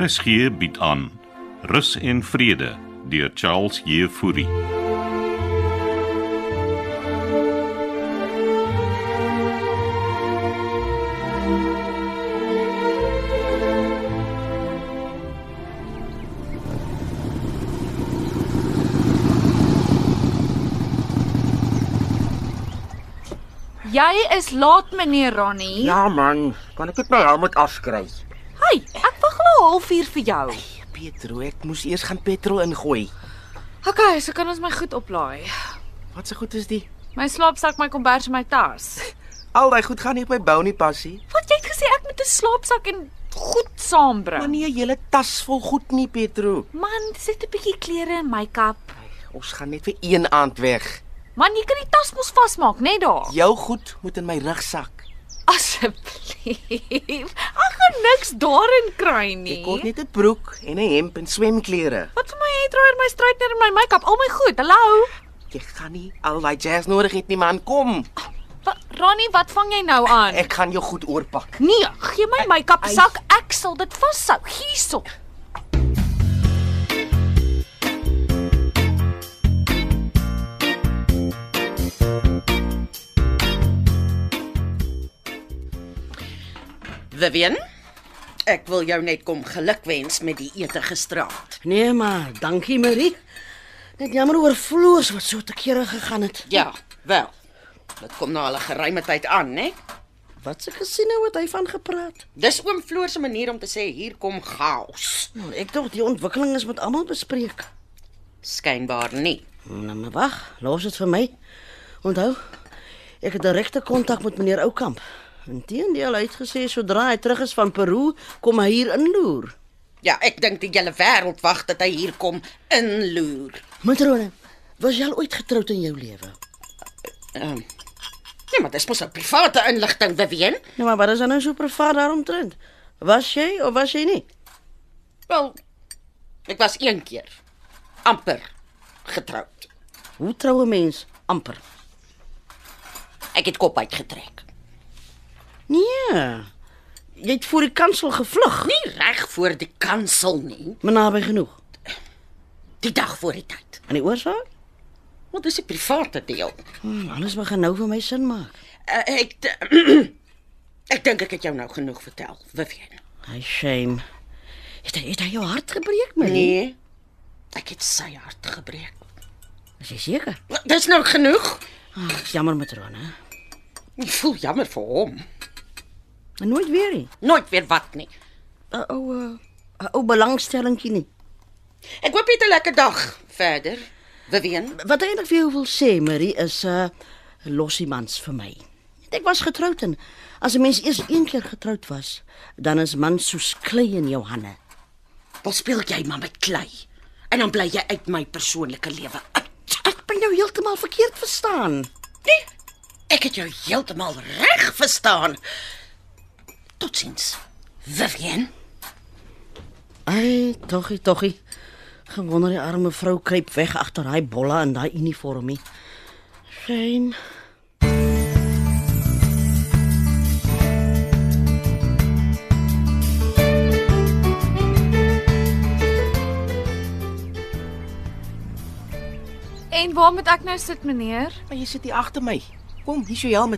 RSG bied aan Rus en Vrede deur Charles Jefouri. Jy is laat, meneer Ronnie. Ja man, kan ek dit nou my helm afskry? Hey, ek wag al 'n halfuur vir jou. Petro, Ja, ek moes eers gaan petrol ingooi. Okay, so kan ons my goed oplaai. Wat se goed is die? My slaapsak, my kombers en my tas. Al daai goed gaan nie op my bou nie, passie. Wat jy het gesê ek moet 'n slaapsak en goed saambring. Maar nie 'n hele tas vol goed nie, Petro. Man, sit 'n bietjie klere en make-up. Ons gaan net vir een aand weg. Man, jy kan die tas mos vasmaak, net daar. Jou goed moet in my rugsak. Asseblief. Ag, gaan niks daarin kry nie. Ek kort net 'n broek en 'n hemp en swemklere. Wat vir my hairdryer, my straightener en my make-up, al my goed. Hallo. Jy gaan nie al daai jazz nodig het nie, man. Kom. Wat Ronnie, wat vang jy nou aan? Ek gaan jou goed oorpak. Nee, gee my make-up sak, ek sal dit vashou. Hierso. Vivian, ek wil jou net kom gelukwens met die ete gisteraand. Nee maar, dankie Marie. Net jammer oor vloers wat so te kere gegaan het. Ja, wel. Dit kom nou al 'n geruime tyd aan, né? Wat se gesien nou wat hy van gepraat? Dis oom Floor se manier om te sê hier kom chaos. Nou, ek dink die ontwikkeling is met almal bespreek. Skynbaar nie. Nou maar wag, los dit vir my. Onthou, ek het direkte kontak met meneer Oukamp. Inteendeel, hy het gesê sodra hy terug is van Peru, kom hy hier inloer. Ja, ek dink die hele wêreld wag dat hy hier kom inloer. Matrone, was jy al ooit getroud in jou lewe? Ehm. Nee, maar dis mos 'n private inligting, Vivian. Nou maar wat is dan nou so privaat daaromtrent? Was jy of was jy nie? Wel, ek was een keer amper getroud. Hoe troue mens amper? Ek het kop uitgetrek. Nee. Jy het voor die kansel gevlug. Nie reg voor die kansel nie, Maar naby genoeg. die dag voor die tyd. En die oorsaak? Want dis 'n private deel. Hmm, alles begin nou vir my sin maak. Uh, ek ek dink ek het jou nou genoeg vertel, Vivian. Hy shame. Het hy, het hy jou hart gebreek, man? Nee. Ek het sy hart gebreek. Is jy seker? Wel, Dis nou genoeg. Ag, oh, jammer matrone. Ek voel jammer vir hom. En nooit weer nie. Nooit weer wat nie. 'n Ou uh, 'n ou belangstellingkie nie. Ek hoop jy het 'n lekker dag verder, Vivian. Wat eintlik vir jou wil sê, Marie, is 'n uh, losie mans vir my. Ek was getroud en as 'n mens eers een keer getroud was, dan is man soos klei in jou hande. Wat speel jy maar met klei? En dan bly jy uit my persoonlike lewe uit. Ek ben jou heeltemal verkeerd verstaan. Nee. Ek het jou heeltemal reg verstaan. Totsiens, Vivian. Ai, toggie, toggie. Gewonder die arme vrou kruip weg agter daai bolle in daai uniformie. Shame. En waar moet ek nou sit, meneer? Maar jy sit hier agter my. Kom, hier's jou helm.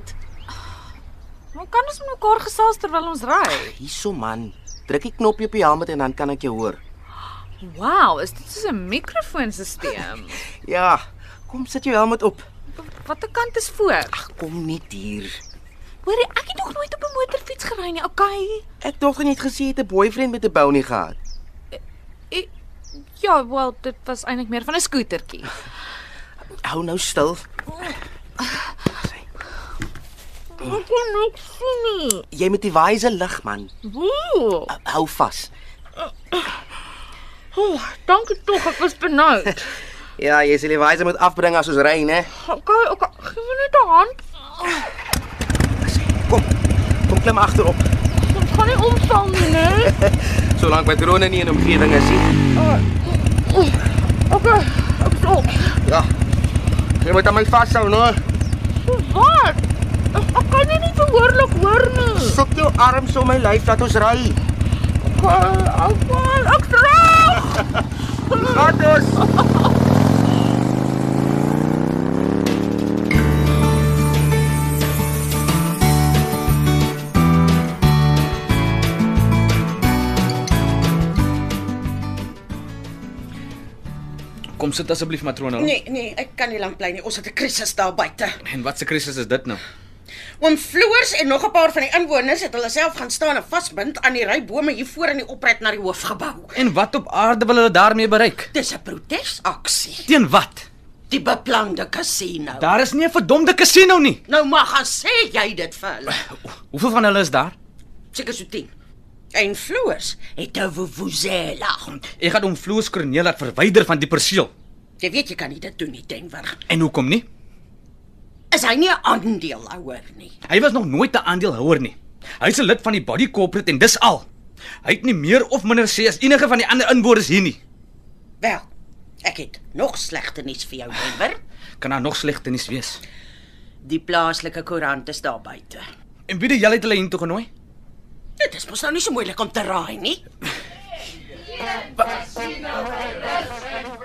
Hoe kan ons met mekaar gesels terwyl ons ry? Hierso man. Druk die knoppie op die helm en dan kan ek jou hoor. Wow, is dit soos 'n mikrofoonstelsel? Ja, kom sit jou helm op. Watter kant is voor? Ag, kom net hier. Hoorie, ek het nog nooit op 'n motorfiets gery nie. Okay. Ek dink jy het gesê jy het 'n boyfriend met 'n bou nie gehad. Ek, ja, wel, dit was eintlik meer van 'n skootertjie. Hou nou stil. Ek kan niks sien nie. Jy moet die wyse lig man. Woe. Hou vas. Oh, dankie tog, ek was benoud. Ja, jy sal die wyse moet afbring as ons ry, né? Okay, okay, gee my net 'n hand. Kom. Kom klim agterop. Ons gaan nie omval nie, né? Solank my drone nie in die omgewing is nie. Okay. Ek stop. Ja. Jy moet aan my vashou, no. Wat? Ek, ek kan dit nie verhoorlik hoor nie. Sit jou arms om my lyf dat ons ry. Alpa. Laat ons. Kom sit asseblief matrona. Nee, nee, ek kan nie lank bly nie. Ons het 'n krisis daar buite. En wat se krisis is dit nou? Oom Floors en nog 'n paar van die inwoners het hulle self gaan staan en vasbind aan die ry bome hier voor in die opret na die hoofgebou. En wat op aarde wil hulle daarmee bereik? Dis 'n protesaksie. Teen wat? Die beplande kasino. Daar is nie 'n verdomde casino nie. nou maar gaan sê jy dit vir hulle. Hoeveel van hulle is daar? Seker so 10. En Floors het 'n vuvuzela. Ek gaan hom Floos Corneel laat verwyder van die perseel. Jy weet jy kan nie dit doen nie, Denver. En hoekom nie? Is hy nie 'n aandeelhouer nie? Hy was nog nooit 'n aandeelhouer nie. Hy's 'n lid van die Body Corporate en dis al. Hy het nie meer of minder sê as enige van die ander inwoners hier nie. Wel, ek het nog slegte nuus vir jou, Denver. Kan daar nog slegte nuus wees? Die plaaslike koerant is daar buite. En wie die julle het hulle hiertoe genooi? Dit is mos nou nie so moeilik om te raai nie.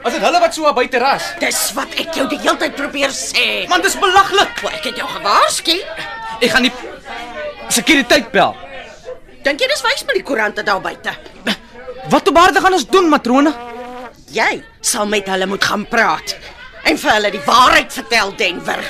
As dit hulle wat so buite ras. Dis wat ek jou die hele tyd probeer sê. Man, dis belaglik. Maar ek het jou gewaarsku. Ek gaan die sekuriteit bel. Dink jy dis wys met die koerante daar buite? Wat op aarde gaan ons doen, matrone? Jy sal met hulle moet gaan praat en vir hulle die waarheid vertel, Denver.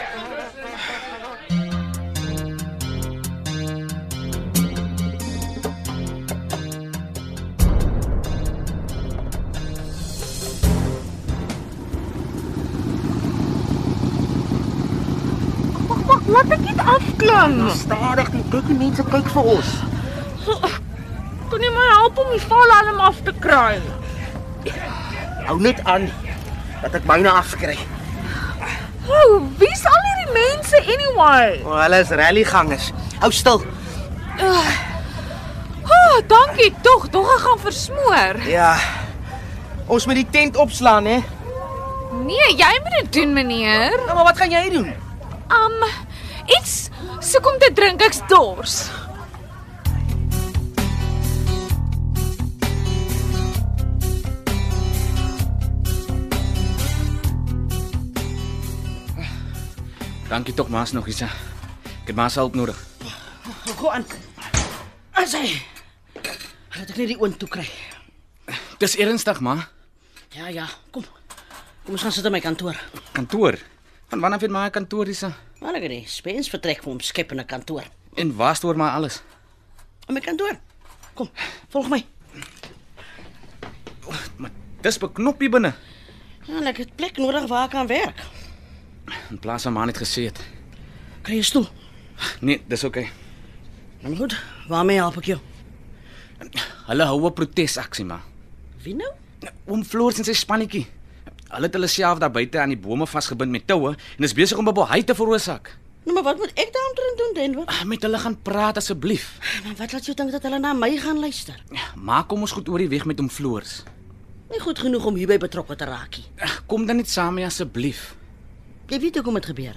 Laat ek dit afklim. Ja. Stadig, die kyk die mense kyk vir ons. Kan jy my help om die valalarm af te kry? Hou net aan dat ek myne afkry. Ou, wie's al hierdie mense anyway? Oh, hulle is rallygangers. Hou stil. O, oh, dankie tog. Tog ek gaan versmoor. Ja. Ons moet die tent opslaan, hè? Nee, jy moet dit doen, meneer. Nou, maar wat gaan jy doen? Um iets soek om te drink. Ek's dors. Dankie tog maas nog iets. hè. Ek het maas se hulp nodig. Go aan. As hy laat ek net die oond toe kry. Dis ernstig, ma. Ja ja, kom. Kom ons gaan sit in my kantoor. Kantoor. Van wanneer af het my kantoor dis? Maar ek het spens vertrek vir hom skep in 'n kantoor. En waar stoor my alles? In my kantoor. Kom, volg my. Maar dis beknop hier binne. Ja, ek het plek nodig waar ek kan werk. In plaas van maar net gesê het. Kry 'n stoel. Nee, dis oké. Okay. Nou goed, waarmee help ek jou? Hulle hou 'n protesaksie, ma. Wie nou? Oom Floors en sy spannetjie. Hulle het hulle self daar buite aan die bome vasgebind met toue en is besig om 'n bohaai te veroorsaak. Nou maar wat moet ek daaroor doen, Denver? Ah, Met hulle gaan praat asseblief. Ah, Maar wat laat jou dink dat hulle na my gaan luister? Maak hom ons goed oor die weg met oom Floors. Nie goed genoeg om hierby betrokke te raak nie. Ag, Kom dan net saam mee asseblief. Jy weet hoekom dit gebeur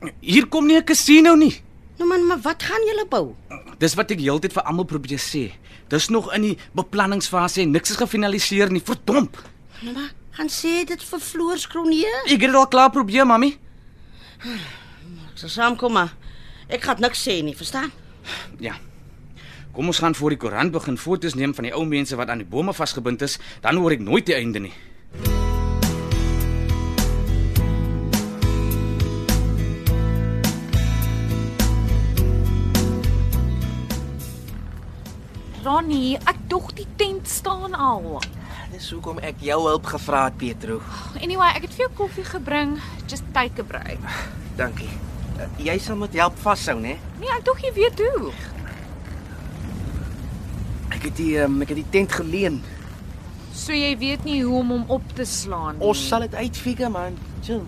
het. Hier kom nie 'n casino nie. Nou man, maar wat gaan julle bou? Dis wat ek heeltyd vir almal probeer sê. Dis nog in die beplanningsfase en niks is gefinaliseer nie. Verdomp. Nou maar, gaan sê dit vir Floors Kronje. Ek het dit al klaar probeer, mami. Ek sal saamkom maar. Ek gaan niks sê nie, verstaan? Ja. Kom ons gaan voor die koerant begin foto's neem van die ou mense wat aan die bome vasgebind is, dan hoor ek nooit die einde nie. Ronnie, ek dog die tent staan al. Dis hoekom ek jou hulp gevra het, Petro. Anyway, ek het vir jou koffie gebring. Just take a break. Dankie. Eh, Jy sal moet help vashou, né? Nee, ek dog jy weet hoe. Ek het die um, ek het die tent geleen. So jy weet nie hoe om hom op te slaan nie. Ons sal dit uitfigure, man. Chill.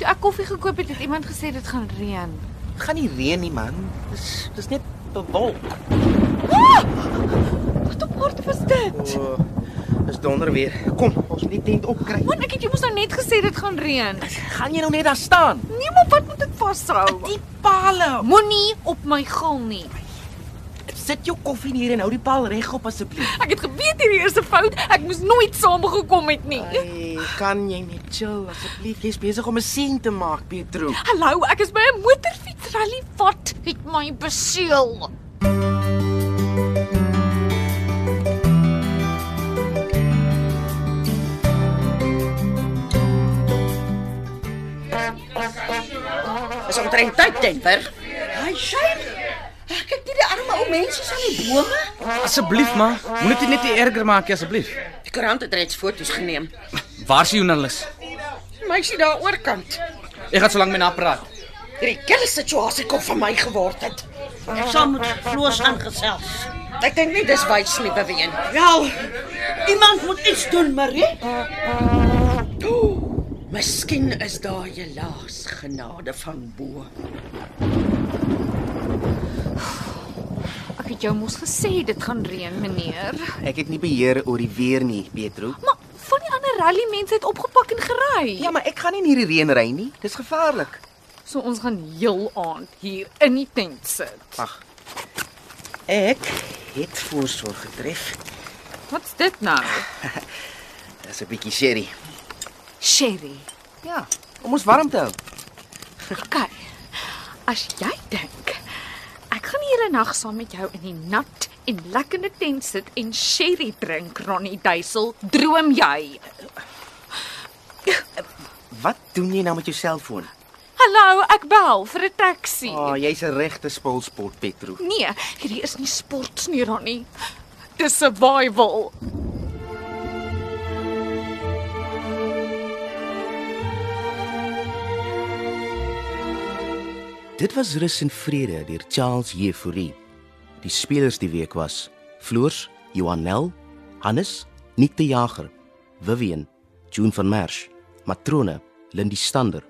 Toe ek koffie gekoop het, het iemand gesê dit gaan reën. Dit gaan nie reën nie, man. Dis dis net bewolk. Wat op aarde was dit? O, Dis donder weer. Kom, ons moet die tent opkry. Man, ek het jou mos nou net gesê dit gaan reën. Gaan jy nou net daar staan? Nee, maar wat moet ek vashou? pale. Moenie op my gil nie. Sit jou koffie neer en hou die paal regop asseblief. Ek het geweet hierdie eerste fout. Ek moes nooit saamgekom het nie. Ai, kan jy net chill asseblief? Jy's besig om 'n scene te maak, Pietro. Hallo, ek is by 'n motorfietsrally. Wat het my beseel? Is omtrent tyd Denver. Ai, shame. Ag, kyk hierdie arme ou mense is aan die bome. Asseblief ma, moenie dit net nie erger maak nie asseblief. Die koerant het reeds foto's geneem. Waar is die joernalis? Die Meisie daar oorkant. Ek gaan so lank met haar praat. Hierdie kille situasie kom vir my geword het. Ek sal met Floos aangesels. Ek dink nie dis wys nie beween. Wel, iemand moet iets doen, Marie. Miskien is daar jelaas genade van bo. Ek het jou mos gesê dit gaan reën, meneer. Ek het nie beheer oor die weer nie, Pietro. Maar van die ander rally mense het opgepak en gery. Ja, maar ek gaan nie in hierdie reën ry nie. Dis gevaarlik. So ons gaan heel aand hier in die tent sit. Wag. Ek het voorsorg getref. Wat's dit nou? Dis 'n bietjie sherry. Sherry. Ja, om ons warm te hou. OK. As jy dink ek gaan hier 'n nag saam met jou in die nat en lekkende tent sit en sherry drink, Ronnie Duisel, droom jy. Wat doen jy nou met jou selfoon? Hallo, ek bel vir 'n taxi. O, oh, jy's 'n regte spulspot, Pietro. Nee, hierdie is nie sport nie, Ronnie. Dis survival. Dit was Rus en Vrede deur Charles Jefouri. Die spelers die week was Floors, Johanel, Hannes, Nick die Jager, Vivian, June van Merch, Matrone, Lindie Stander,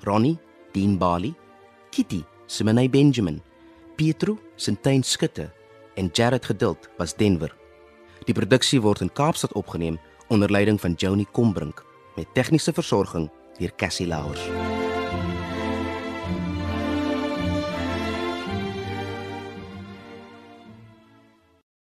Ronnie, Dean Bali, Kitty, Simonay Benjamin, Pietro, Sintyn Skutte en Jared Geduld was Denver. Die produksie word in Kaapstad opgeneem onder leiding van Johnny Combrink met tegniese versorging deur Cassie Lauers.